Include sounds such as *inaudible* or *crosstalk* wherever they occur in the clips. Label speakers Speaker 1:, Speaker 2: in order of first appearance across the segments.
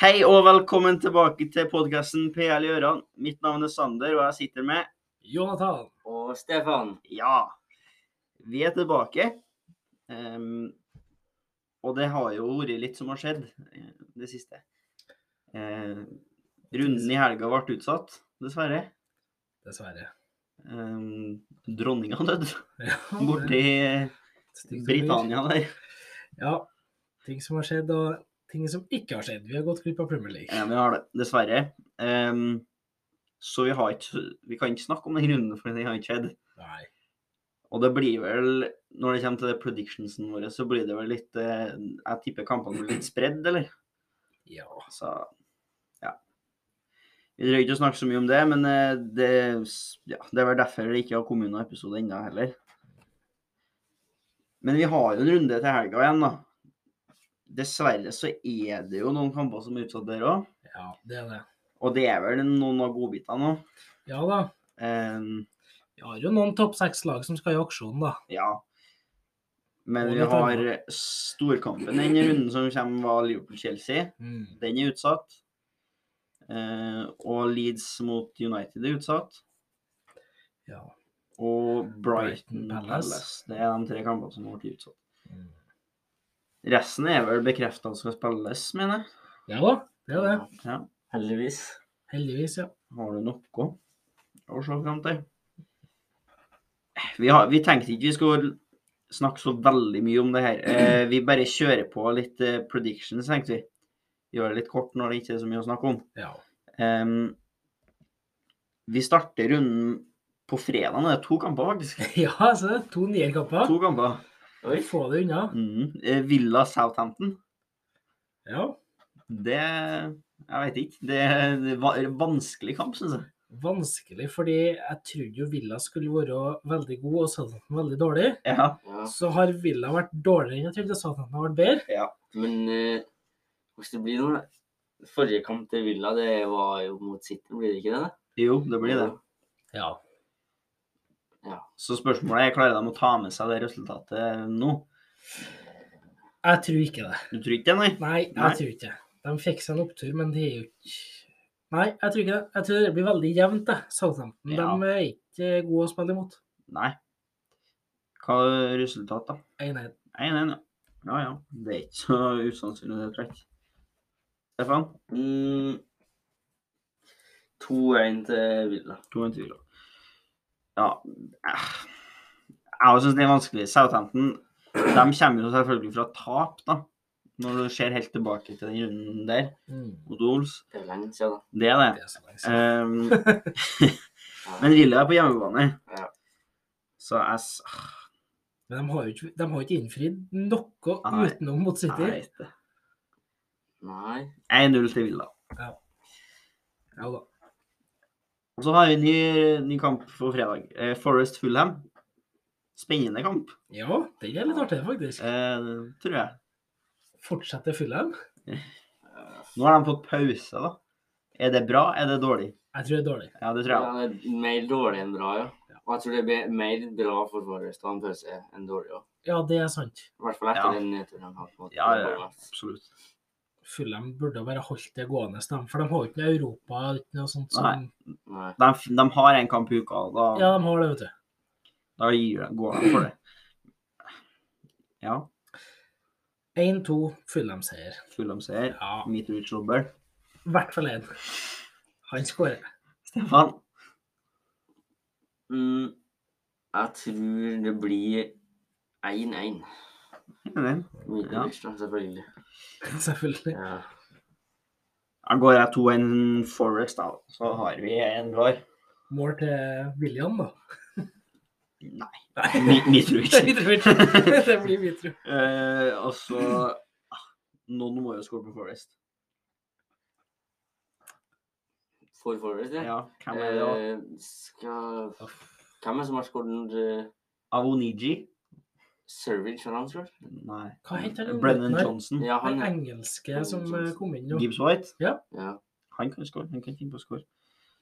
Speaker 1: Hei og velkommen tilbake til podkasten PL Gjøran. Mitt navn er Sander, og jeg sitter med
Speaker 2: Jonathan.
Speaker 3: Og Stefan.
Speaker 1: Ja, vi er tilbake. Ehm, og det har jo vært litt som har skjedd eh, det siste. Eh, runden i helga ble utsatt, dessverre.
Speaker 2: Dessverre. *laughs*
Speaker 1: Um, dronninga døde
Speaker 2: Ja,
Speaker 1: borti
Speaker 2: stygt å bli.
Speaker 1: Britannia der.
Speaker 2: Ja. Ting som har skjedd, og ting som ikke har skjedd. Vi har gått glipp av Premier League.
Speaker 1: Ja, vi har det, dessverre. Ehm, så vi, har ikke, vi kan ikke snakke om den runden, for det har ikke skjedd.
Speaker 2: Nei.
Speaker 1: Og det blir vel, når det kommer til det predictionsen våre, så blir det vel litt eh, Jeg tipper kampene blir litt spredd, eller?
Speaker 2: Ja.
Speaker 1: Så ja. Vi trenger ikke å snakke så mye om det, men eh, det, ja, det er vel derfor det ikke har kommet noen episode ennå heller. Men vi har jo en runde til helga igjen, da. Dessverre så er det jo noen kamper som er utsatt der òg.
Speaker 2: ja, det er det.
Speaker 1: Og det er vel noen av godbitene òg.
Speaker 2: Ja da.
Speaker 1: Ehm,
Speaker 2: Vi har jo noen topp seks-lag som skal i aksjon, da.
Speaker 1: Ja. Men
Speaker 2: Og
Speaker 1: vi
Speaker 2: litt
Speaker 1: har storkampen. Den runden som kommer, var Liverpool-Chelsea.
Speaker 2: Mm.
Speaker 1: Den er utsatt. Eh, og Leeds mot United er utsatt.
Speaker 2: Ja.
Speaker 1: Og Brighton
Speaker 2: Brighton Palace.
Speaker 1: Palace. Det er de tre kampene som ble utsatt.
Speaker 2: Mm.
Speaker 1: Resten er vel bekrefta skal spilles, mener jeg.
Speaker 2: ja da. Det er det.
Speaker 1: Ja.
Speaker 3: Heldigvis.
Speaker 2: Heldigvis, ja.
Speaker 1: Har du noe å se fram til? Vi, har, vi tenkte ikke vi skulle snakke så veldig mye om det her. Eh, vi bare kjører på litt eh, predictions, tenkte vi. Gjør det litt kort når det ikke er så mye å snakke om.
Speaker 2: Ja. *laughs*
Speaker 1: Em, vi starter runden på fredag. Det er to kamper, faktisk.
Speaker 2: ja så det er to nierkamper.
Speaker 1: To kamper.
Speaker 3: Oi.
Speaker 2: Få det unna.
Speaker 1: Mm. Eh, Villa Southampton.
Speaker 2: Ja.
Speaker 1: Det Jeg vet ikke. Det er en va- vanskelig kamp, syns jeg.
Speaker 2: Vanskelig, fordi jeg trodde jo Villa skulle være veldig god og Southampton veldig dårlig.
Speaker 1: Ja.
Speaker 3: Ja.
Speaker 2: Så har Villa vært dårligere enn jeg trodde, og Southampton har vært bedre.
Speaker 3: Men eh, hvis det blir noe Forrige kamp til Villa, det var jo mot City, blir det ikke det?
Speaker 1: Jo, det blir det.
Speaker 2: Ja.
Speaker 1: Så spørsmålet er klarer de å ta med seg det resultatet nå.
Speaker 2: Jeg tror ikke det.
Speaker 1: Du tror ikke det, nei?
Speaker 2: Nei, jeg
Speaker 1: Nei.
Speaker 2: tror ikke det. De fikk seg en opptur, men det er jo ikke Nei, jeg tror ikke det. Jeg tror det blir veldig jevnt, det. Southampton.
Speaker 1: Ja.
Speaker 2: De er ikke gode å spille imot.
Speaker 1: Nei. Hva er resultatet, da?
Speaker 2: 1-1.
Speaker 1: 1-1, ja. Ja ja. Det er ikke så usannsynlig, det tror jeg ikke. Stefan?
Speaker 3: Mm. 2-1 til Villa.
Speaker 1: To en tvil. Ja eh. Jeg syns det er vanskelig. Southampton de kommer jo selvfølgelig fra tap, da. Når du ser helt tilbake til den runden der
Speaker 2: Mm.
Speaker 1: mot Ols.
Speaker 3: Det er lenge siden, da.
Speaker 1: Det er det.
Speaker 2: Det er så lenge siden.
Speaker 1: Ehm, *laughs*
Speaker 3: Ja.
Speaker 1: men Villa er på hjemmebane.
Speaker 3: Ja.
Speaker 1: Så jeg s-
Speaker 2: Men de har jo ikke, de har jo ikke innfridd noe
Speaker 1: Nei.
Speaker 2: utenom mot
Speaker 1: Jeg
Speaker 2: City.
Speaker 1: vet det.
Speaker 3: Nei.
Speaker 1: 1-0 til Villa.
Speaker 2: Ja da.
Speaker 1: Og så har vi en ny, ny kamp for fredag. Eh, Forest Fulham. Spennende kamp,
Speaker 2: Ja, den er litt artig, faktisk.
Speaker 1: eh, tror jeg.
Speaker 2: Fortsetter Fulham.
Speaker 3: Eh,
Speaker 1: Nå har de fått pause, da. Er det bra? Er det dårlig?
Speaker 2: Jeg tror det er dårlig.
Speaker 1: Ja, det tror jeg.
Speaker 3: Ja, det er mer dårlig enn bra, ja. Og jeg tror det blir mer bra for Forrest å ha en pause enn dårlig òg.
Speaker 2: Ja, det er sant.
Speaker 3: I hvert fall etter
Speaker 1: Ja.
Speaker 3: den nedturen han har fått.
Speaker 1: Ja, ja, ja. Absolutt.
Speaker 2: Fulham burde bare holdt det gående, de, for de har jo ikke noe Europa ikke noe sånt som
Speaker 3: Nei.
Speaker 1: De, f- de har en kamp i uka, og da,
Speaker 2: Ja, de har det, vet du.
Speaker 1: da gir, de- går de for det. Ja,
Speaker 2: 1-2 Fulham-seier.
Speaker 1: Fulham-seier.
Speaker 2: Ja,
Speaker 1: Mitrovic Robber.
Speaker 2: i hvert fall én. Han skårer.
Speaker 1: Stefan,
Speaker 3: Mm. Jeg tror det blir 1-1.
Speaker 1: den.
Speaker 3: Mitrovic, da, selvfølgelig.
Speaker 2: Selvfølgelig.
Speaker 3: Ja.
Speaker 1: Da går jeg 2-1 Forest, da. Så har vi en klar.
Speaker 2: Mål til William, da.
Speaker 1: Nei,
Speaker 2: Nei,
Speaker 1: Mi-
Speaker 2: *laughs*
Speaker 1: Mitrovic.
Speaker 2: det blir Mitrovic. Det blir Mitro.
Speaker 1: Eh, og så ah, Noen må jo score på Forest.
Speaker 3: For Forrest, ja.
Speaker 1: Ja, hvem er det? da?
Speaker 3: Eh, skal... Hvem er det som har skåret uh,
Speaker 1: Avoniji?
Speaker 3: Surridge har han skåret?
Speaker 1: Nei.
Speaker 2: Hva heter han?
Speaker 1: Brennan
Speaker 2: Nei.
Speaker 1: Johnson.
Speaker 3: Ja, han
Speaker 2: Den engelske som eh, kom inn nå.
Speaker 1: Gibbs White.
Speaker 3: ja.
Speaker 1: Han kan score. Han kan finne på å score.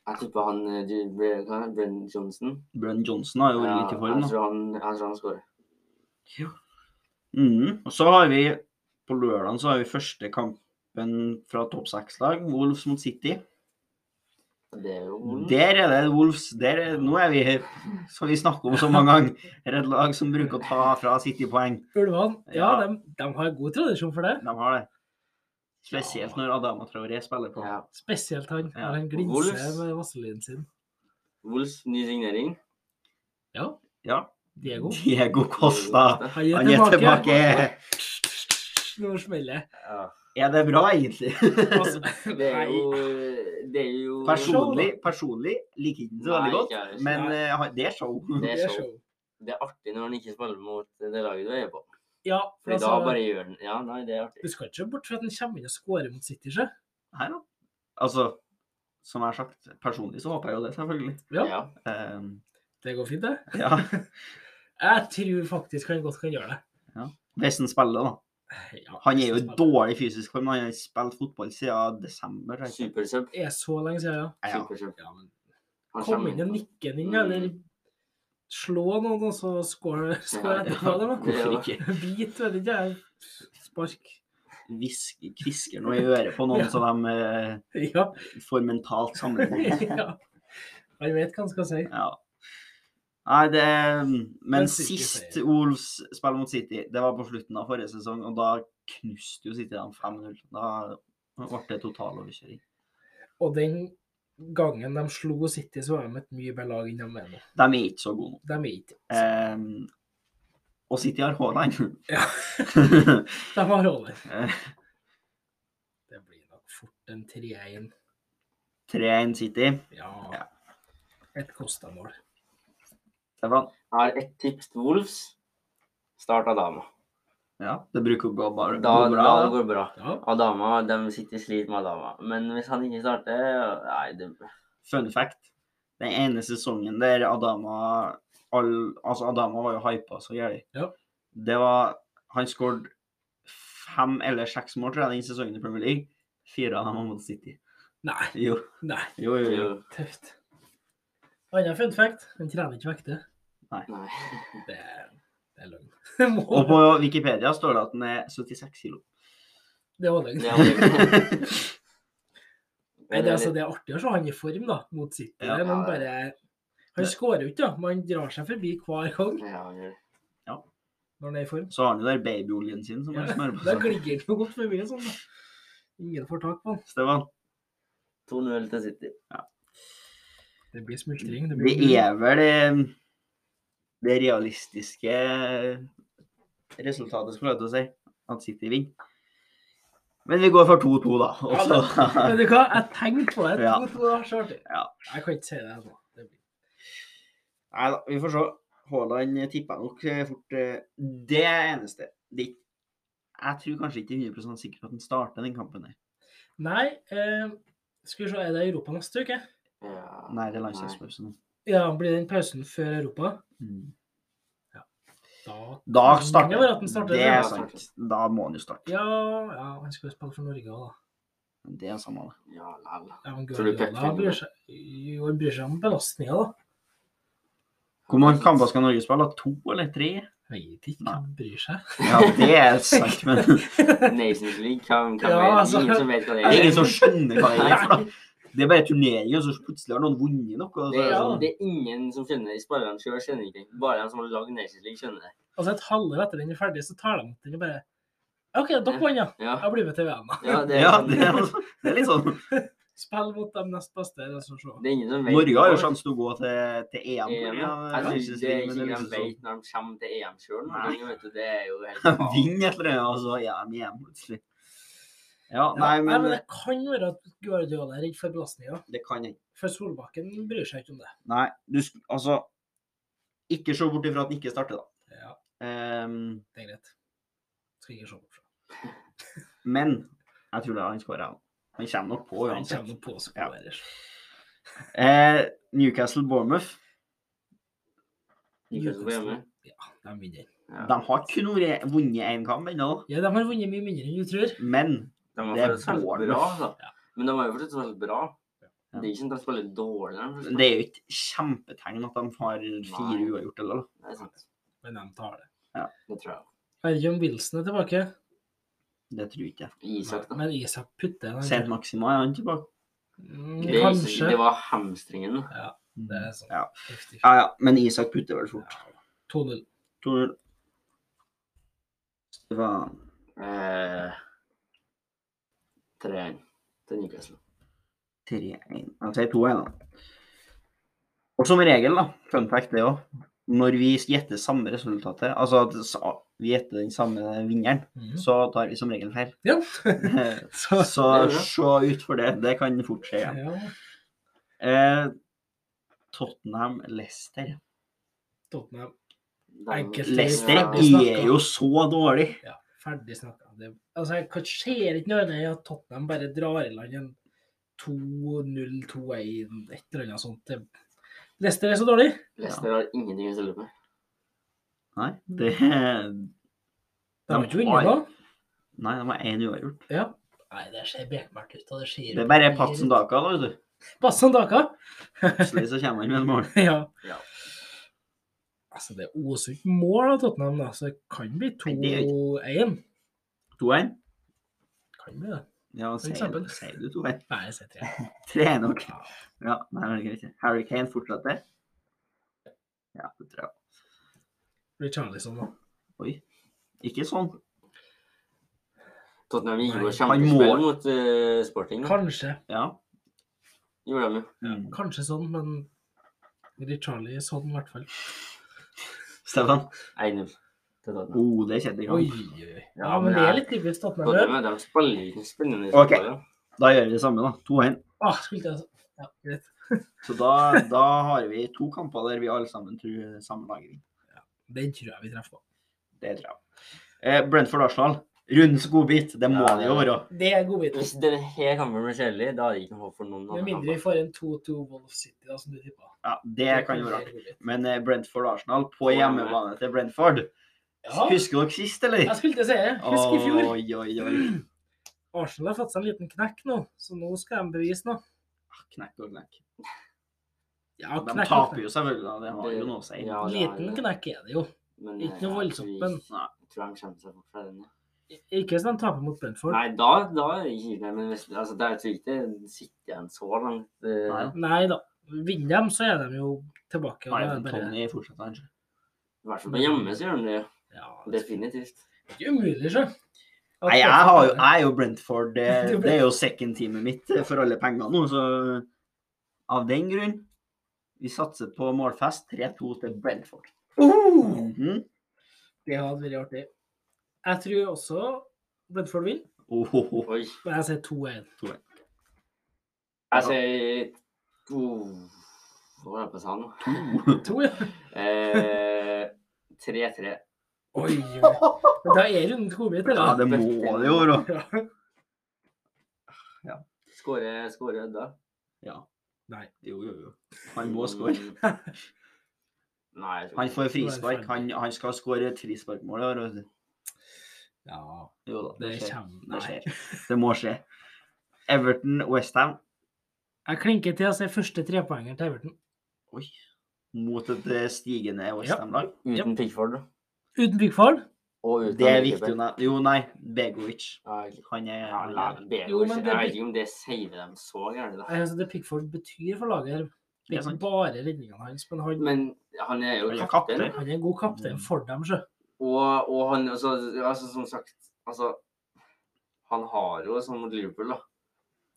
Speaker 3: Jeg tipper han eh, J- Bre- hva er det? Brennan Johnson.
Speaker 1: Brennan Johnson har jo vært
Speaker 3: Ja, altså.
Speaker 1: litt i
Speaker 3: jeg
Speaker 1: form, da.
Speaker 3: tror han, jeg tror han skårer.
Speaker 1: Mhm. Og så har vi på lørdagen så har vi første kamp kampen fra topp seks-lag, Wolves mot City.
Speaker 3: Det er jo
Speaker 1: Der er det Wolves. Der er, nå er vi som vi snakker om så mange ganger. Er et lag som bruker å ta fra City poeng.
Speaker 2: Ulvene, ja,
Speaker 1: Ja.
Speaker 2: de, har god tradisjon for det.
Speaker 1: De har det. Spesielt når Adama Traoré spiller på.
Speaker 3: ja.
Speaker 2: Spesielt han.
Speaker 1: Ja,
Speaker 2: Ja, han glinser
Speaker 3: Wolves-
Speaker 2: med vaselinen sin.
Speaker 3: Wolfs ny signering.
Speaker 2: Ja,
Speaker 1: Ja.
Speaker 2: Diego.
Speaker 1: Diego Costa.
Speaker 2: Han er
Speaker 1: Han er
Speaker 2: tilbake.
Speaker 1: tilbake.
Speaker 2: Nå smeller det.
Speaker 3: Ja.
Speaker 1: Er det bra,
Speaker 3: *laughs*
Speaker 1: egentlig?
Speaker 2: Altså,
Speaker 3: Det er jo eh, Det er jo
Speaker 1: Personlig, personlig liker ikke den så veldig
Speaker 3: Nei,
Speaker 1: godt,
Speaker 3: ikke jeg heller.
Speaker 1: men
Speaker 2: Nei.
Speaker 1: eh, han- det er show. *laughs*
Speaker 3: Det
Speaker 2: det
Speaker 3: er
Speaker 2: er
Speaker 3: show.
Speaker 2: show.
Speaker 3: Det er artig når han ikke spiller mot det laget du er på.
Speaker 2: Ja,
Speaker 3: For
Speaker 2: for altså,
Speaker 3: da bare gjør den Ja, nei, det er
Speaker 2: Du
Speaker 3: artig.
Speaker 2: skal ikke bort fra at han kommer inn og scorer mot City, sjø.
Speaker 1: Her, da. Altså, som jeg har sagt, personlig så håper jeg jo det, selvfølgelig.
Speaker 2: Ja.
Speaker 3: Ja.
Speaker 1: Ehm,
Speaker 2: Det går fint, det.
Speaker 1: ja. *laughs*
Speaker 2: Jeg tror faktisk han godt kan gjøre det.
Speaker 1: Hvis han spiller, da.
Speaker 2: Ja,
Speaker 1: Han er jo i
Speaker 2: spennende.
Speaker 1: dårlig fysisk form. Han har ikke spilt fotball siden desember. tror jeg.
Speaker 3: Supersub.
Speaker 2: Det er så lenge siden, ja.
Speaker 1: Ja,
Speaker 3: Supersub.
Speaker 2: ja men,
Speaker 3: Han
Speaker 2: kom
Speaker 3: kommer
Speaker 2: inn og
Speaker 3: inn.
Speaker 2: nikke den inn, eller slå noen, og så score score
Speaker 3: Ja, ja.
Speaker 2: etterpå. eller noe.
Speaker 1: Hvorfor ikke?
Speaker 2: Bit, vet ikke jeg. Spark.
Speaker 1: Hvisker, kvisker noe i øret på
Speaker 3: *laughs*
Speaker 1: noen,
Speaker 2: Ja.
Speaker 1: så de eh,
Speaker 2: Ja. *laughs*
Speaker 1: får mentalt sammenheng.
Speaker 2: ja. Han vet hva han skal si.
Speaker 1: Ja. Nei, det mm, Men
Speaker 2: Men City
Speaker 1: sist
Speaker 2: seier.
Speaker 1: Wolves spiller mot City, det var på slutten av forrige sesong, og da knuste jo City dem 5-0. Da ble det total overkjøring.
Speaker 2: Og den gangen de slo City, så var de et mye bedre lag enn de er nå.
Speaker 1: De er ikke så gode nå.
Speaker 2: De er ikke
Speaker 1: Ehm, og City har Haaland. *laughs*
Speaker 2: Ja. De har roller.
Speaker 1: Eh.
Speaker 2: Det blir nok fort en 3-1.
Speaker 1: 3-1 City.
Speaker 2: Ja.
Speaker 1: Ja.
Speaker 2: Et kostamål.
Speaker 1: Det var
Speaker 3: Jeg har ett tips til Wolfs. Start Adama.
Speaker 1: Ja, det bruker å gå bare
Speaker 3: Da,
Speaker 1: gå
Speaker 3: da
Speaker 1: bra.
Speaker 3: går det bra.
Speaker 2: Ja.
Speaker 3: Adama, de sitter slit med Adama. Men hvis han ikke starter Nei, det
Speaker 1: Fun fact. Den ene sesongen der Adama all, Altså, Adama var jo hypa så jævlig.
Speaker 2: Ja.
Speaker 1: Det var Han skåret fem eller seks mål, tror jeg, den sesongen i Premier League. Fire av dem var mot City.
Speaker 2: Nei.
Speaker 1: Jo,
Speaker 2: Nei.
Speaker 1: jo, jo.
Speaker 3: blir
Speaker 1: jo.
Speaker 3: jo
Speaker 2: Tøft. Annen fun fact, han trener ikke vekter.
Speaker 3: Nei.
Speaker 2: Det er, det er løgn. *laughs* Det må-
Speaker 1: Og på Wikipedia står det at den er 76 kilo.
Speaker 2: Det var løgn.
Speaker 3: Det er jo-
Speaker 2: Nei, det, er altså, det er artig å se han i form da, mot City.
Speaker 1: Ja.
Speaker 2: men
Speaker 3: Ja, det-
Speaker 2: bare, han skårer jo ikke, da. men han drar seg forbi hver gang
Speaker 3: Ja, han gjør det.
Speaker 2: når han er i form.
Speaker 1: Så har han jo den babyoljen sin som han smører på
Speaker 2: Da
Speaker 1: seg.
Speaker 2: gligger han jo godt forbi. Sånn, da. Ingen får tak på han.
Speaker 1: Stefan,
Speaker 3: 2-0 til City.
Speaker 2: Det blir smultring. Det
Speaker 1: det
Speaker 2: blir
Speaker 1: er vel eh, det realistiske resultatet, skulle jeg til å si, at City vinner. Men vi går for 2-2, da. Og så-
Speaker 2: Vet du hva, jeg tenkte på det.
Speaker 1: Ja.
Speaker 2: To, to, da, så artig.
Speaker 1: Ja.
Speaker 2: Jeg kan ikke si det altså. ennå. Det blir-
Speaker 1: Nei da, vi får se. Haaland tipper jeg nok eh, fort eh, Det er eneste. Det er ikke- jeg tror kanskje ikke det er 100 sikkert at han starter den kampen. der.
Speaker 2: Nei, eh, skal vi se, er det Europa neste uke?
Speaker 3: Ja.
Speaker 1: Nei, det er landslagspause nå.
Speaker 2: Ja, blir den pausen før Europa?
Speaker 1: Mm.
Speaker 2: Da
Speaker 1: Da
Speaker 2: kan det
Speaker 1: starter
Speaker 2: være at den starter,
Speaker 1: Det
Speaker 2: ja.
Speaker 1: er sant. Da må han jo starte.
Speaker 2: Ja, ja, han skal jo spille for Norge òg, da.
Speaker 1: Det er samme det.
Speaker 3: Ja, lall.
Speaker 2: Ja, men
Speaker 3: Tror du Pep
Speaker 2: Guardiola
Speaker 3: finner
Speaker 2: bryr
Speaker 3: noe?
Speaker 2: seg, jo, han bryr seg om belastninga, da.
Speaker 1: Hvor mange kamper skal Norge spille? To eller tre?
Speaker 2: Veit ikke hva han bryr seg.
Speaker 1: Ja, det er sant, men
Speaker 3: Nations League, hva, hva
Speaker 2: Ja,
Speaker 3: er det?
Speaker 2: altså.
Speaker 3: Ingen som vet hva
Speaker 1: det
Speaker 3: det
Speaker 1: er ingen
Speaker 3: er.
Speaker 1: som skjønner hva det er. for noe. Det er bare turnering, og så plutselig har noen vunnet noe. Og så
Speaker 3: Det
Speaker 1: er
Speaker 3: er,
Speaker 1: det
Speaker 2: Ja.
Speaker 1: sånn,
Speaker 3: det er ingen som skjønner det. Spillerne sjøl skjønner ikke det. Bare de som har lagd Nations League, skjønner det.
Speaker 2: Altså, et halvår etter den er ferdig, så tar de opp den og bare OK, dere vant, ja.
Speaker 3: Ja,
Speaker 2: Jeg blir med til VM, da.
Speaker 3: ja, det, er,
Speaker 1: ja,
Speaker 3: sånn-
Speaker 1: det, er, det er litt sånn
Speaker 2: Spill mot de nest beste, eller så se.
Speaker 3: det er ingen som vet.
Speaker 1: Norge har jo
Speaker 3: hva-
Speaker 1: sjanse til å gå til, til EM. Ja,
Speaker 3: EM, ja. Jeg synes det er
Speaker 1: men
Speaker 3: ikke
Speaker 1: det er
Speaker 3: de
Speaker 1: liksom sånn-
Speaker 3: vet når de kommer til EM sjøl.
Speaker 1: Nei.
Speaker 3: Det er jo
Speaker 1: *laughs*
Speaker 3: helt faen.
Speaker 1: Vinn et eller annet, og så er de igjen plutselig. Ja,
Speaker 2: Ja,
Speaker 1: nei,
Speaker 2: nei, men
Speaker 1: men
Speaker 2: det kan være at Guardiola er redd for belastninga.
Speaker 1: det kan jeg.
Speaker 2: For Solbakken bryr seg ikke om det.
Speaker 1: Nei, du sk- Altså, ikke se bort ifra at den ikke starter, da.
Speaker 2: Ja,
Speaker 1: Ehm,
Speaker 2: det er greit. Skal ikke se bort fra.
Speaker 1: men jeg tror det er han skårer, han. Han kommer nok på
Speaker 2: Han
Speaker 1: uansett.
Speaker 2: kommer på å
Speaker 1: Ja.
Speaker 2: skåre.
Speaker 1: Eh, Newcastle-Bournemouth,
Speaker 3: Newcastle på hjemme.
Speaker 2: Ja, de vinner.
Speaker 3: Ja.
Speaker 1: de har kun vært- vunnet én kamp ennå,
Speaker 2: Ja, de har vunnet mye mindre enn du tror.
Speaker 1: men
Speaker 3: De har
Speaker 1: Det er
Speaker 3: fortsatt spilt
Speaker 1: Bournemouth.
Speaker 3: bra, da.
Speaker 2: Ja.
Speaker 3: Men de har jo fortsatt spilt bra.
Speaker 1: Ja.
Speaker 3: Det er ikke sånn at de spiller dårlig. når de
Speaker 1: det er jo ikke kjempetegn at de har fire
Speaker 3: Nei.
Speaker 1: uavgjort, eller?
Speaker 3: Det er sant.
Speaker 2: Men de tar det.
Speaker 3: Det tror jeg.
Speaker 2: Erjum Wilson er tilbake.
Speaker 1: Det tror ikke jeg.
Speaker 3: Isak, da.
Speaker 2: Men Isak putter den.
Speaker 1: Sent Maxima er han tilbake.
Speaker 2: Mm,
Speaker 3: Det, er Isak-
Speaker 2: kanskje.
Speaker 3: det var hamstringen. da.
Speaker 2: Ja, det er sånn.
Speaker 1: Ja.
Speaker 2: 50-50.
Speaker 1: ja, ja. Men Isak putter vel fort.
Speaker 2: 2-0.
Speaker 1: 2-0. Stefan.
Speaker 3: Eh, 3-1 til Newcastle.
Speaker 1: 3-1. Jeg sier 2-1, da. Og som regel, da, fun fact det òg, når vi gjetter samme resultatet, altså at sa- vi gjetter den samme vinneren,
Speaker 2: Mhm.
Speaker 1: så tar vi som regel
Speaker 3: *laughs*
Speaker 1: feil. *laughs*
Speaker 2: Ja. Så,
Speaker 1: Så
Speaker 3: Det er bra.
Speaker 1: se ut for det. Det kan fort skje igjen.
Speaker 2: ja.
Speaker 1: Eh, Tottenham-Lester.
Speaker 2: Tottenham.
Speaker 3: Den-
Speaker 2: Enkelt.
Speaker 1: Lester
Speaker 3: Ja,
Speaker 1: er jo så dårlig.
Speaker 2: Ja, ferdig snakka. Det, altså, jeg kan- ser ikke noe annet enn at Tottenham bare drar i land en 2-0-2-1, et eller annet sånt. Det- Leicester er så dårlig.
Speaker 3: Leicester har ingenting å stille opp med.
Speaker 1: Nei, det *laughs* Nei,
Speaker 2: De har
Speaker 1: De
Speaker 2: ikke
Speaker 1: har-
Speaker 2: vunnet da.
Speaker 1: de var én uavgjort.
Speaker 2: Ja. Nei, det ser bekmørkt ut. og Det, ser
Speaker 1: Det er bare Patsen Daka, da, vet du.
Speaker 2: Patsen Daka.
Speaker 1: Plutselig så kommer han med et mål.
Speaker 2: *laughs* ja.
Speaker 3: Ja.
Speaker 2: Altså, det oser ikke mål av Tottenham, da, så det kan bli
Speaker 1: Nei, det er
Speaker 2: 2-1.
Speaker 1: 2-1.
Speaker 2: Kan bli det.
Speaker 1: Ja,
Speaker 2: For
Speaker 1: sier
Speaker 2: eksempel.
Speaker 1: sier du 2-1?
Speaker 2: Nei, jeg sier 3.
Speaker 1: 3-1, ok. Ja, nei, men det er greit. Harry Kane fortsetter. Ja, det tror jeg.
Speaker 2: Richarlison, da.
Speaker 1: Oi. Ikke sånn.
Speaker 3: Tottenham gikk jo
Speaker 2: Nei,
Speaker 1: han
Speaker 3: kjempespill
Speaker 1: må-
Speaker 3: mot eh, Sporting. da.
Speaker 2: Kanskje.
Speaker 1: Ja.
Speaker 3: Gjorde de jo.
Speaker 1: Mm.
Speaker 2: Kanskje sånn, men Richarlison i hvert fall.
Speaker 1: Stefan.
Speaker 3: 1-0 til Tottenham.
Speaker 1: Oh, det kjente jeg
Speaker 2: Oi,
Speaker 1: ikke.
Speaker 2: oi, oi.
Speaker 3: Ja,
Speaker 2: Ja, men
Speaker 3: men
Speaker 2: det er
Speaker 3: jeg-
Speaker 2: litt typisk Tottenham. det.
Speaker 3: Tottenham de spiller jo ikke spennende
Speaker 1: Ok.
Speaker 3: fotball. da.
Speaker 1: Da gjør vi det samme, da. 2-1.
Speaker 2: Ah, skulle jeg... Ja, greit.
Speaker 1: Så da, da har vi to kamper der vi alle sammen tror samme lag vinner.
Speaker 2: Den tror jeg vi treffer på.
Speaker 1: Det tror jeg. Eh, Brentford Arsenal. Rundens godbit. Det må
Speaker 3: Ja,
Speaker 1: det
Speaker 3: ja.
Speaker 1: jo være.
Speaker 2: Det er godbiten.
Speaker 3: Hvis denne her kampen blir kjedelig, da er det ikke noe håp for noen
Speaker 2: Med
Speaker 3: andre
Speaker 2: mindre vi
Speaker 3: kamper.
Speaker 2: får en 2-2 Wolf City, da, som du tippa.
Speaker 1: Ja, det kan jo være. artig. Men eh, Brentford Arsenal på
Speaker 3: Får jeg med.
Speaker 1: hjemmebane til Brentford.
Speaker 2: Ja,
Speaker 1: Husker dere sist, eller?
Speaker 2: jeg skulle til å si det. Husk i fjor.
Speaker 1: Oi, oi, oi.
Speaker 2: Arsenal har fått seg en liten knekk nå, så nå skal de bevise noe.
Speaker 1: Knekk og knekk.
Speaker 2: Ja,
Speaker 1: De taper jo selvfølgelig, da. Det har jo noe å si.
Speaker 3: Ja, det er
Speaker 2: Liten
Speaker 3: det.
Speaker 2: knekk er det jo.
Speaker 3: Men,
Speaker 2: Ikke
Speaker 3: eh,
Speaker 2: noe
Speaker 3: jeg
Speaker 2: voldsomt,
Speaker 3: tror-
Speaker 2: men-
Speaker 3: Jeg tror de kommer seg bort fra den. ja.
Speaker 2: Ikke hvis de taper mot Brentford. Nei,
Speaker 3: Nei, da, da er det ikke det. Men hvis, altså, det er jeg tror ikke det sitter igjen så langt. eh,
Speaker 1: Nei.
Speaker 2: da. Vinner de, så er de jo tilbake. Og da er
Speaker 1: Ivan
Speaker 2: det bare...
Speaker 1: Tony fortsetter, kanskje.
Speaker 3: I hvert fall på hjemme så gjør han det.
Speaker 2: Ja, det
Speaker 3: Definitivt.
Speaker 2: er ikke umulig, sjø. At
Speaker 1: Nei, jeg,
Speaker 2: Brentford-
Speaker 1: har jo, jeg er jo Brentford. Det,
Speaker 2: *laughs* Du er
Speaker 1: det er jo second teamet mitt eh, for alle penger nå, så av den grunn Vi satser på målfest 3-2 til Brentford.
Speaker 2: Oh!
Speaker 1: Mhm.
Speaker 2: Det hadde vært artig. Jeg tror også Brentford vinner,
Speaker 1: Ohoho.
Speaker 3: Oi.
Speaker 2: men jeg sier 2-1.
Speaker 1: Ja.
Speaker 3: Jeg sier to Hva var det på salen?
Speaker 2: To, ja.
Speaker 3: Eh, *laughs* 3-3.
Speaker 2: Oi, oi. Men Da er runden godbit,
Speaker 1: Ja,
Speaker 2: eller?
Speaker 1: det må det jo være.
Speaker 2: Ja.
Speaker 3: Skårer skårer Edda?
Speaker 1: Ja.
Speaker 2: Nei.
Speaker 1: Jo, jo, jo. Han må score.
Speaker 3: Mm. Nei. jeg tror
Speaker 1: Han
Speaker 3: ikke.
Speaker 1: får frispark. Han, han skal skåre et frisparkmål. i år, vet du.
Speaker 2: ja
Speaker 1: Jo da,
Speaker 2: det
Speaker 1: det skjer.
Speaker 2: kommer
Speaker 1: Det,
Speaker 2: Nei.
Speaker 1: skjer. det må skje. Everton Westham
Speaker 2: Jeg klinker til å se første trepoenger til Everton.
Speaker 1: mot et eh, stigende Westham-lag.
Speaker 3: Uten Pickford da.
Speaker 2: Uten Pickford.
Speaker 3: og uten
Speaker 1: Det er
Speaker 3: Ankeberg.
Speaker 1: viktig å nevne. Jo, nei. Begovic.
Speaker 3: Ja, ok.
Speaker 1: Han er
Speaker 3: Ja,
Speaker 1: han
Speaker 3: la-
Speaker 1: er-
Speaker 3: Begovic,
Speaker 2: Jo, men det
Speaker 3: Jeg
Speaker 2: blir-
Speaker 3: vet ikke om det saver dem så gærent. da.
Speaker 2: Altså, det Pickford betyr for laget, her,
Speaker 1: Det
Speaker 2: det
Speaker 1: er
Speaker 2: er
Speaker 1: sant.
Speaker 2: ikke bare redningene hans, men han,
Speaker 3: Men han er jo
Speaker 1: Han er
Speaker 3: kaptein.
Speaker 1: kaptein.
Speaker 2: han er en god kaptein for dem, sjø.
Speaker 3: Og, og han altså, altså, som sagt altså, Han har jo, sånn mot Liverpool, da,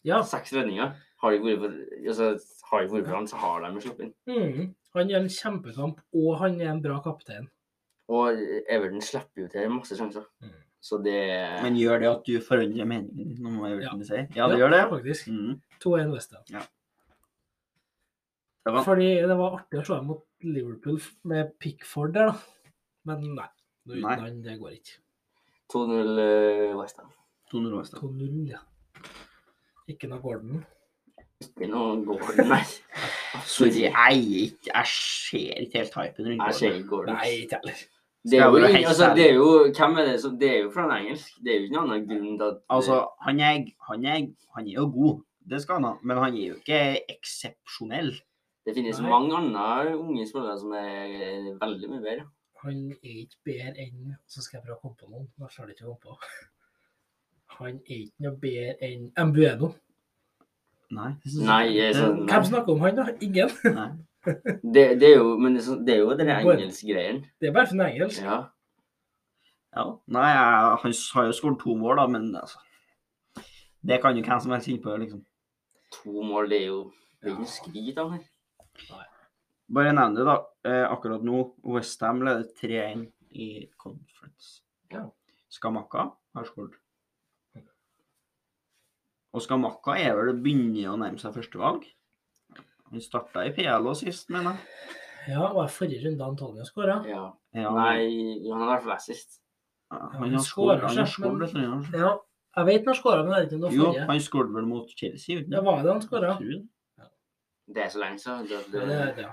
Speaker 2: Ja.
Speaker 3: seks redninger. Har det ikke vært for- altså, har det ikke vært for han, så har de jo sluppet inn.
Speaker 2: Mm. Han gjør en kjempekamp, og han er en bra kaptein.
Speaker 3: Og Everton slipper jo til masse sjanser.
Speaker 2: Mm.
Speaker 3: Så det
Speaker 1: Men gjør det at du forandrer meningen din om hva
Speaker 2: Ja.
Speaker 1: Everton sier? Ja, det gjør det.
Speaker 2: Faktisk.
Speaker 1: Mm.
Speaker 2: 2-1 Westham.
Speaker 1: Det var
Speaker 2: Fordi det var artig å slå dem mot Liverpool med Pickford der, da. Men nei. nå Uten
Speaker 1: Nei.
Speaker 2: han, det går ikke.
Speaker 3: 2-0 Westham.
Speaker 1: 200 år siden.
Speaker 2: 2-0, ja. Ikke noe Gordon.
Speaker 3: Ikke noe Gordon, nei.
Speaker 1: Sorry, jeg, er ikke- jeg ser ikke helt hypen rundt
Speaker 3: Jeg ser
Speaker 1: det.
Speaker 3: ikke Gordon.
Speaker 2: Nei, ikke heller.
Speaker 1: Skal
Speaker 3: Det er,
Speaker 1: jeg
Speaker 3: jo,
Speaker 1: være
Speaker 3: ingen-
Speaker 1: helt
Speaker 3: altså,
Speaker 1: ærlig?
Speaker 3: det er jo Hvem er det som Det er jo fra en engelsk. Det er jo ikke noen annen grunn til at
Speaker 1: Altså, han er, han, er, han er jo god, det skal han ha, men han er jo ikke eksepsjonell.
Speaker 3: det finnes
Speaker 2: Nei.
Speaker 3: mange andre unge spillere som er veldig mye bedre.
Speaker 2: Han er ikke bedre enn Så skal jeg prøve å komme på noen. Nå klarer jeg ikke å komme på. han er ikke noe bedre enn Embueno.
Speaker 1: Nei. jeg synes-
Speaker 3: Nei, jeg,
Speaker 1: det-
Speaker 3: sånn,
Speaker 2: Hvem snakker om han, da? Ingen.
Speaker 1: Nei.
Speaker 3: det, det er jo Men det er sånn- det er jo den
Speaker 2: Bare-
Speaker 3: engelskgreien.
Speaker 2: Det er bare for en engelsk.
Speaker 3: Ja.
Speaker 1: Ja. Nei, jeg, han har jo skåret to mål, da, men altså Det kan jo hvem som helst finne på, liksom.
Speaker 3: To mål, det er jo Det er ikke noe skryt av det.
Speaker 1: Bare nevn det, da. Eh, akkurat nå, Westham leder 3-1 i conference.
Speaker 3: Ja.
Speaker 1: Skamakka har skåret. Og Skamakka er vel begynner å nærme seg førstevalg. Han starta i PLO sist, mener jeg.
Speaker 2: Ja, var det forrige runde Antonio skåra?
Speaker 3: Ja.
Speaker 1: Ja,
Speaker 3: Nei, han har vært flassest.
Speaker 1: han
Speaker 2: han
Speaker 1: har
Speaker 2: skårer
Speaker 1: skåret, han har
Speaker 2: ikke,
Speaker 1: skåret,
Speaker 2: men-
Speaker 1: vet du, han har skåret.
Speaker 2: Ja, jeg vet han skåra, men det er ikke noe
Speaker 1: Jo,
Speaker 2: forrige.
Speaker 1: han skåret vel mot Chelsea, gjorde han ikke?
Speaker 2: Ja, var det han skåra?
Speaker 1: Tror det.
Speaker 3: Det er så lenge siden. Det,
Speaker 2: Ja,
Speaker 3: det,
Speaker 2: det- ja.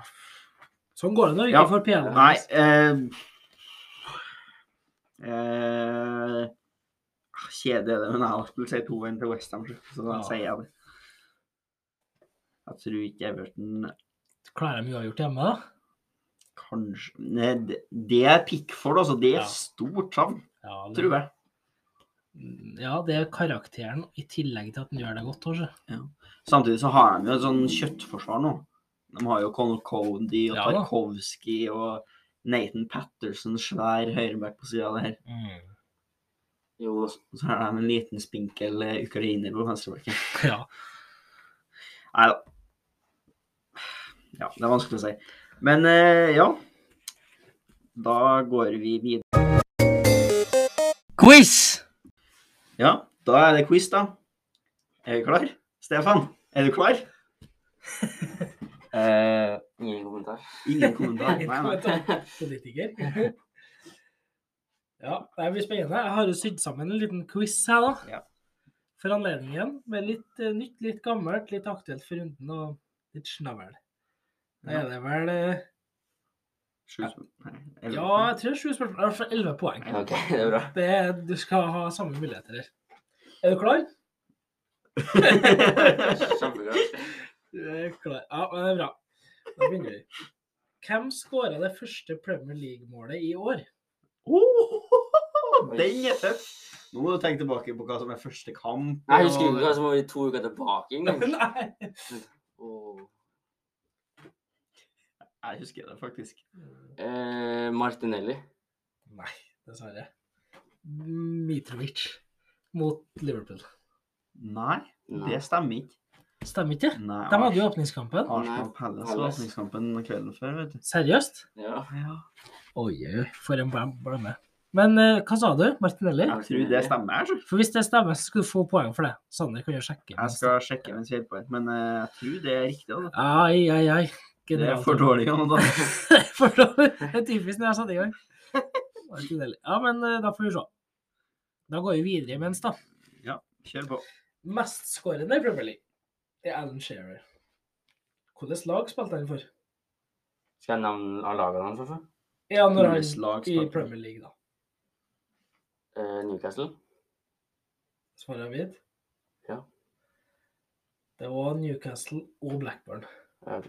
Speaker 2: Sånn går det når vi
Speaker 1: Ja.
Speaker 2: ikke får PL.
Speaker 1: Nei eh, eh, ah, Kjedelig er det, men jeg skulle si 2-1 til Westham, så da
Speaker 2: Ja.
Speaker 1: sier jeg det. Jeg tror ikke Everton
Speaker 2: Klarer de uavgjort hjemme, da?
Speaker 1: kanskje Nei, det- Det er Pickford, altså. Det
Speaker 2: Ja.
Speaker 1: er stort savn,
Speaker 2: Ja, det-
Speaker 1: tror jeg.
Speaker 2: Ja, det er karakteren i tillegg til at han gjør det godt. Også.
Speaker 1: Samtidig så har de jo et sånn kjøttforsvar nå. De har jo Conor Cody og
Speaker 2: Ja da.
Speaker 1: Tarkovsky og Nathan Patterson, svær høyreback på sida der.
Speaker 3: jo,
Speaker 1: Og så har de en liten spinkel eh, ukrainer på venstrebacken.
Speaker 2: *laughs* Ja.
Speaker 1: Nei da. Ja, det er vanskelig å si. Men eh, ja. Da går vi videre.
Speaker 2: Quiz!
Speaker 1: Ja, da er det quiz, da. Er vi klar? Stefan, er du klar?
Speaker 3: eh, Ingen kommentar.
Speaker 1: Ingen
Speaker 2: *laughs*
Speaker 1: kommentar. Nei, nei.
Speaker 2: Politiker.
Speaker 1: *laughs*
Speaker 2: Ja, det blir spennende. Jeg har jo sydd sammen en liten quiz her, da.
Speaker 1: Ja.
Speaker 2: For anledningen. Med litt eh, nytt, litt gammelt, litt aktuelt for runden og litt snavel. Da er det vel eh,
Speaker 1: Sju spørsmål. Nei, elleve.
Speaker 2: Ja, *laughs* jeg tror det er sju spørsmål. I hvert fall elleve poeng.
Speaker 3: Ja, OK, det er bra.
Speaker 2: Det er, du skal ha samme muligheter her. Er du klar?
Speaker 3: Kjempebra.
Speaker 2: Du er klar. Ja, men det er bra. Da begynner vi. Hvem skåra det første Premier League-målet i år?
Speaker 1: Oh, den er tøff! Nå må du tenke tilbake på hva som er første kamp.
Speaker 3: Nei, Jeg husker ikke hva som var i to uker tilbake
Speaker 2: *laughs*
Speaker 3: engang.
Speaker 2: *laughs* Nei.
Speaker 3: Åh.
Speaker 1: Jeg husker det faktisk.
Speaker 3: Eh, Martinelli.
Speaker 2: Nei, dessverre. Mitrovic mot Liverpool.
Speaker 1: Nei, det stemmer ikke.
Speaker 2: Stemmer ikke?
Speaker 1: Nei,
Speaker 2: De hadde jo åpningskampen.
Speaker 1: Arsenal Palace var
Speaker 3: Palace.
Speaker 1: åpningskampen kvelden før, vet du.
Speaker 2: Seriøst?
Speaker 3: Ja.
Speaker 1: Ja.
Speaker 2: Oi, oi, oi, for en blam- blamme. Men eh, hva sa du, Martinelli?
Speaker 1: Jeg tror det stemmer. altså. jeg, tror.
Speaker 2: For hvis det stemmer, så skal du få poeng for det. Sander kan jo sjekke.
Speaker 1: Jeg skal sjekke mens jeg holder på, men eh, jeg tror det er riktig. Altså.
Speaker 2: Ai, ai, ai.
Speaker 1: Det altså. er
Speaker 2: General-
Speaker 1: for dårlig å nå, da.
Speaker 2: *laughs* For dårlig. Det er typisk når jeg satte i gang. Martinelli. Ja, men eh, da får vi se. Da går vi videre imens, da.
Speaker 1: Kjør på.
Speaker 2: Mestskårende i Premier League er Alan Shearer. Hvilket lag spilte han for?
Speaker 3: Skal jeg nevne lagene hans også?
Speaker 2: Ja, når han
Speaker 1: Hvilket lag
Speaker 2: i
Speaker 1: spilte han?
Speaker 2: Premier League, da.
Speaker 3: Eh, Newcastle.
Speaker 2: Svarer jeg vidt?
Speaker 3: Ja.
Speaker 2: Det var Newcastle og Blackburn.
Speaker 3: Ja, ok.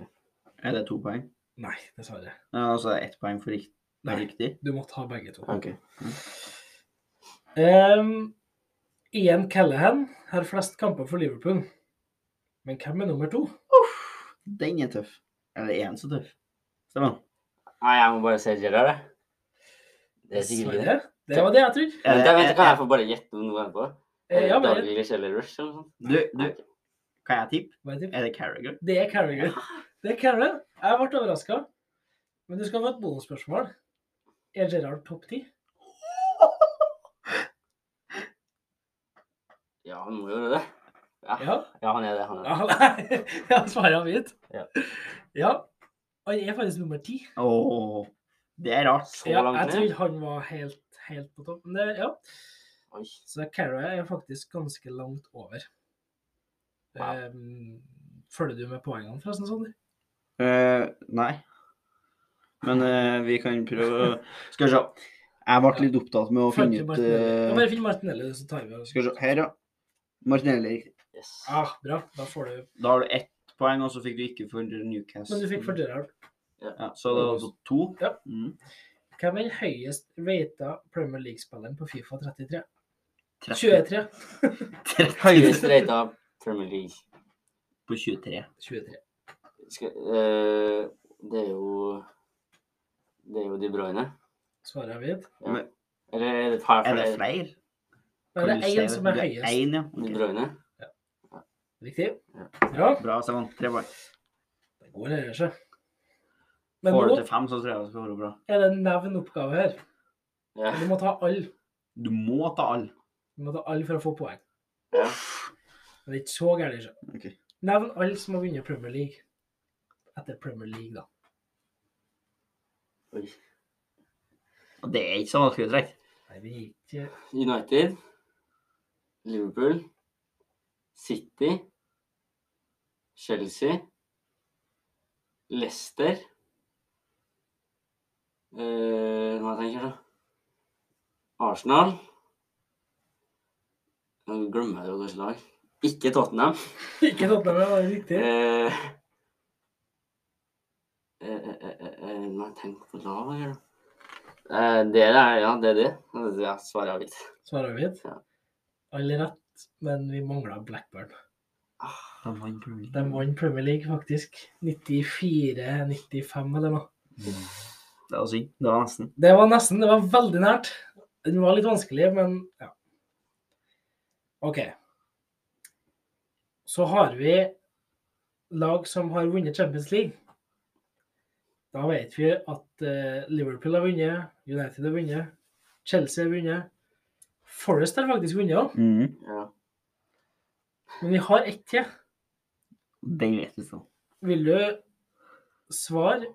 Speaker 1: Er det to poeng?
Speaker 2: Nei, dessverre.
Speaker 1: Ja, altså ett poeng for riktig. Det er
Speaker 2: Nei,
Speaker 1: riktig.
Speaker 2: du måtte ha begge to.
Speaker 3: Ok.
Speaker 2: Um, Ian Callahan har flest kamper for Liverpool. Men hvem er nummer to?
Speaker 1: Den er tøff. Eller er den så tøff? Stemmer.
Speaker 3: Nei, jeg må bare se Gerrard, jeg. Det er sikkert ikke det.
Speaker 2: Dessverre. Det var det jeg trodde.
Speaker 3: Men da vet
Speaker 1: Eh,
Speaker 3: du hva, jeg får bare gjette om noe etterpå.
Speaker 2: Eh, Ja, men,
Speaker 3: Daglig Kjell Rush eller noe sånt.
Speaker 1: Du, du,
Speaker 3: Nei, ok.
Speaker 1: kan jeg tippe?
Speaker 2: hva er det?
Speaker 1: Er det
Speaker 3: *laughs*
Speaker 1: Carriager?
Speaker 2: Det er Carrigan. Det er Carrigan. Jeg ble overraska. Men du skal få et bonusspørsmål. Er Gerard topp ti?
Speaker 3: Ja, han må jo gjøre det. Ja,
Speaker 2: Ja.
Speaker 3: ja han er det. han er det.
Speaker 2: Ja, nei. *laughs* Ja, svaret er mitt.
Speaker 3: Ja.
Speaker 2: ja. Han er faktisk nummer ti.
Speaker 1: Åh, det er rart.
Speaker 3: Så
Speaker 2: Ja, jeg
Speaker 3: langt ned.
Speaker 2: trodde han var helt, helt på topp. Men det, ja.
Speaker 3: Oi.
Speaker 2: Så Carrigan er faktisk ganske langt over.
Speaker 3: Wow.
Speaker 2: Ehm, følger du med poengene, forresten, Sander?
Speaker 1: Eh, nei. Men eh, vi kan prøve å Skal vi se. Jeg ble litt opptatt med å
Speaker 2: Fant
Speaker 1: finne
Speaker 2: du
Speaker 1: ut
Speaker 2: Martinelli? Ja,
Speaker 1: eh,
Speaker 2: Bare finn Martinelli, så tar vi oss.
Speaker 1: Skal vi se. Her, ja. Martinelli. er riktig.
Speaker 3: Yes.
Speaker 2: Ah, bra. Da får du
Speaker 1: Da har du ett poeng, og så fikk du ikke for Newcastle.
Speaker 2: Men du fikk for Gerard.
Speaker 1: Ja, så det var altså to.
Speaker 2: Ja.
Speaker 1: Mm.
Speaker 2: Hvem er den høyest rata Premier League-spilleren på Fifa 33?
Speaker 1: 30
Speaker 2: 23.
Speaker 1: 30
Speaker 3: Høyest rata Premier League.
Speaker 1: på 23.
Speaker 2: 23.
Speaker 3: Skal, eh, det er jo Det er jo De Bruyne.
Speaker 2: Svarer jeg vidt.
Speaker 3: Eller er det par
Speaker 1: Er det
Speaker 3: flere?
Speaker 1: flere?
Speaker 2: Da er det én som er høyest.
Speaker 1: Én, ja.
Speaker 3: De
Speaker 1: Ok.
Speaker 3: Bruyne?
Speaker 2: Riktig. Bra.
Speaker 1: Bra, så jeg vant tre poeng.
Speaker 2: Det går det gjør seg. Men
Speaker 1: Får du
Speaker 2: nå
Speaker 1: til fem, så tror jeg det skal være bra.
Speaker 2: er det en nevn oppgave her.
Speaker 3: Ja.
Speaker 2: Du må ta alle.
Speaker 1: Du må ta alle.
Speaker 2: Du må ta alle for å få poeng.
Speaker 3: ja.
Speaker 2: Men det er ikke så gærent. ikke?
Speaker 1: Ok.
Speaker 2: Nevn alle som har vunnet Premier League. Etter Premier League, da.
Speaker 3: Oi.
Speaker 1: Og det er ikke sånn så vanskelig å trekke.
Speaker 2: Nei, vi gikk ikke *laughs*
Speaker 3: United, Liverpool, City, Chelsea, Leicester eh, Hva tenker jeg da? Arsenal. Nå glemmer jeg jo kanskje lag. Ikke Tottenham.
Speaker 2: Ikke tatt med meg, var det riktig?
Speaker 3: Eh, eh, eh, eh, eh, Nå har jeg tenkt på lag her, da. Eh, det er ja, det. er det. Ja, svaret er litt.
Speaker 2: Svarer vi vidt.
Speaker 3: Ja.
Speaker 2: Alle rett, men vi mangla Blackburn.
Speaker 1: De vant Premier League.
Speaker 2: De vant Premier League faktisk 94-95 eller noe.
Speaker 1: Det var synd. Det var nesten.
Speaker 2: Det var nesten, det var veldig nært. Den var litt vanskelig, men ja. OK. Så har vi lag som har vunnet Champions League. Da vet vi at eh, Liverpool har vunnet, United har vunnet, Chelsea har vunnet. Forest har faktisk vunnet òg,
Speaker 1: Mm.
Speaker 3: Ja.
Speaker 2: men vi har ett til.
Speaker 1: Den vet vi så.
Speaker 2: Vil du svare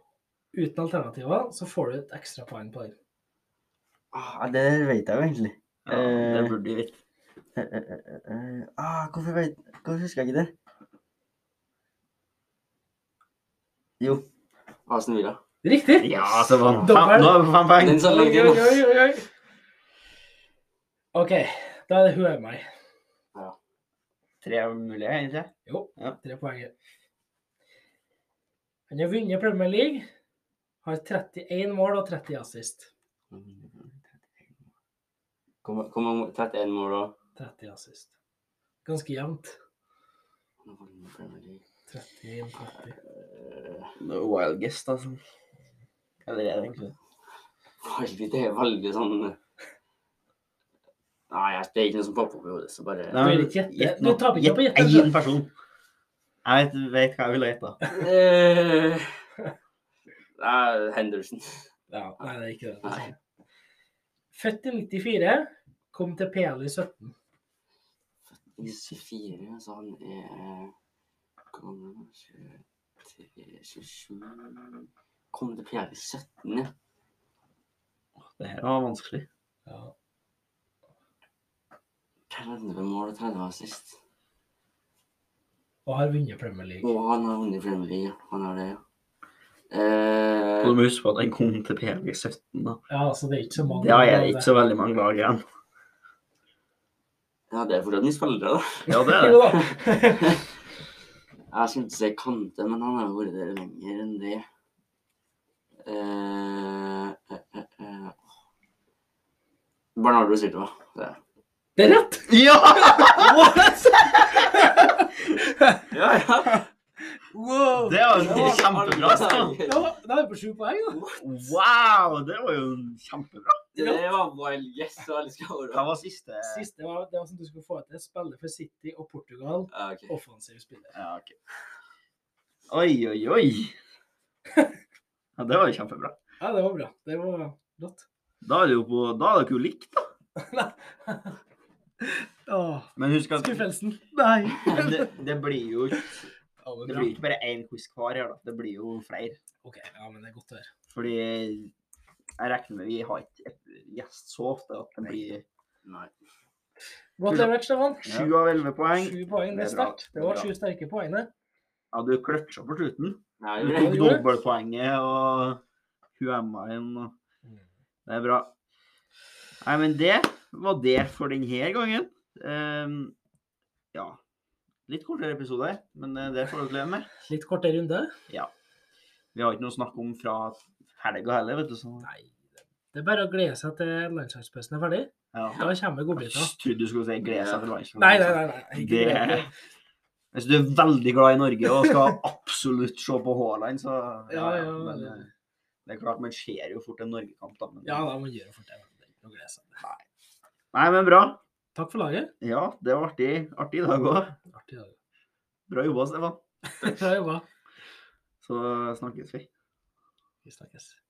Speaker 2: uten alternativer, så får du et ekstra poeng på den.
Speaker 3: Ah, det vet jeg jo egentlig.
Speaker 1: Ja, det
Speaker 3: Eh.
Speaker 1: burde vi vite.
Speaker 3: Eh, eh, eh, eh, Ah, hvorfor, vet, hvorfor husker jeg ikke det? Jo. Asen Villa.
Speaker 2: Riktig!
Speaker 1: Ja, så vant fem.
Speaker 2: Dobbel.
Speaker 1: Nå er vi på fem poeng.
Speaker 3: Den som
Speaker 2: Oi,
Speaker 3: lagde
Speaker 2: oi,
Speaker 3: den.
Speaker 2: oi, oi. OK, da er det hun er meg.
Speaker 1: Tre mulige, egentlig.
Speaker 2: Jo,
Speaker 1: Ja.
Speaker 2: tre poeng. Han har vunnet Premier League, har 31 mål og 30 assist.
Speaker 3: Kom- Kom om 31 mål da.
Speaker 2: 30 assist. Ganske jevnt.
Speaker 3: Nå får den Premier League.
Speaker 2: 31, 30.
Speaker 3: Eh,
Speaker 1: Det er wild guess, altså. Eller er det egentlig det?
Speaker 3: Veldig, det er veldig sånn Nei, jeg- det er ikke noe som popper opp i hodet, så bare
Speaker 1: Nei,
Speaker 2: vil
Speaker 1: men
Speaker 2: ikke gjette.
Speaker 1: gjett
Speaker 2: Du
Speaker 1: nå.
Speaker 2: taper ikke på å
Speaker 1: Gjett
Speaker 2: gjette, altså.
Speaker 1: én person. Jeg vet, vet hva jeg ville gjette.
Speaker 3: Eh, Nei, Henderson.
Speaker 2: Ja, nei, det er ikke det.
Speaker 3: Nei.
Speaker 2: Født i 94, kom til PL i 17.
Speaker 3: 94, så altså, han er eh, kom, 23, 27 Kom til PR i 17, ja.
Speaker 1: Det her var vanskelig.
Speaker 2: Ja.
Speaker 3: 30 mål og 30 assist.
Speaker 2: Og har vunnet Premier League.
Speaker 3: Og han har vunnet Premier League. ja. Han har det, ja. Eh,
Speaker 1: Og du må huske på at han kom til PG17, da.
Speaker 2: Ja, så det er ikke så mange.
Speaker 1: Da er det ikke så veldig mange lag igjen.
Speaker 3: ja, det er fortsatt mye spillere, da.
Speaker 1: Ja, *laughs* det er det.
Speaker 2: Jo da.
Speaker 3: Jeg skulle ikke si Kante, men han har jo vært der lenger enn det. Eh, eh, eh, eh. Bernardo Silva. Det. er-
Speaker 2: *laughs* Det er rett!
Speaker 1: Ja!
Speaker 3: Ja, ja.
Speaker 2: Wow!
Speaker 1: Det var jo kjempebra. Stian.
Speaker 2: Ja, Da er vi på sju poeng, da.
Speaker 1: Wow, det var jo kjempebra.
Speaker 3: Det var wild guess. og Jeg elsker ordet.
Speaker 1: Hva var siste?
Speaker 2: Siste var det var som du skulle få til. Spille for City og Portugal.
Speaker 3: Ja, ok.
Speaker 2: Offensiv spiller.
Speaker 1: Ja, ok. Oi, oi, oi. Ja, det var jo kjempebra.
Speaker 2: Ja, det var bra. Det var rått.
Speaker 1: Da er det jo på, da er dere jo likt, da.
Speaker 2: *laughs* Åh,
Speaker 1: Men husk at
Speaker 2: Skuffelsen. Nei.
Speaker 1: det, det blir
Speaker 2: *laughs*
Speaker 1: jo det
Speaker 2: Ja, men
Speaker 1: blir
Speaker 2: bra.
Speaker 1: ikke bare én quiz hver her, da. Det blir jo flere.
Speaker 2: OK, ja, men det er godt å høre.
Speaker 1: Fordi jeg regner med vi har ikke et gjest så ofte at det blir
Speaker 3: Nei.
Speaker 2: Godt levert, Stefan.
Speaker 1: sju av elleve poeng.
Speaker 2: Sju poeng. Det
Speaker 1: Det
Speaker 2: er
Speaker 1: er bra.
Speaker 2: sterkt. Det var
Speaker 1: Det er
Speaker 2: sju sterke poeng der.
Speaker 1: Ja, du kløtsja på slutten.
Speaker 3: Nei,
Speaker 1: Du
Speaker 3: det
Speaker 1: tok
Speaker 3: er-
Speaker 2: gjorde det.
Speaker 1: dobbeltpoenget og huemma-en. og-
Speaker 2: Mm.
Speaker 1: Det er bra. Nei, men det var det for denne gangen. Ehm, ja. Litt kortere episode, her, men eh, det får dere leve med.
Speaker 2: Litt kortere runde.
Speaker 1: Vi har ikke noe å snakke om fra helga heller, vet du. Så
Speaker 2: Nei, Det er bare å glede seg til landslagspausen er ferdig.
Speaker 1: Ja.
Speaker 2: Da kommer godbiter.
Speaker 1: Jeg trodde du skulle si glede seg for landslaget.
Speaker 2: Nei, nei, nei. nei. ikke
Speaker 1: Det-
Speaker 2: glede deg.
Speaker 1: Hvis du er veldig glad i Norge og
Speaker 2: *laughs*
Speaker 1: skal absolutt se på Haaland, så
Speaker 2: Ja, ja,
Speaker 1: men,
Speaker 2: det-
Speaker 1: eh, det er klart, man ser jo fort en Norgekamp, da. Men,
Speaker 2: Ja, da må man gjøre fort det. Det er ikke noe å glede seg til.
Speaker 1: Nei, men bra.
Speaker 2: Takk for laget.
Speaker 1: Ja, det var artig, artig i dag òg.
Speaker 2: Artig dag.
Speaker 1: Bra jobba, Stefan.
Speaker 2: Bra jobba.
Speaker 1: Så snakkes vi.
Speaker 2: Vi snakkes.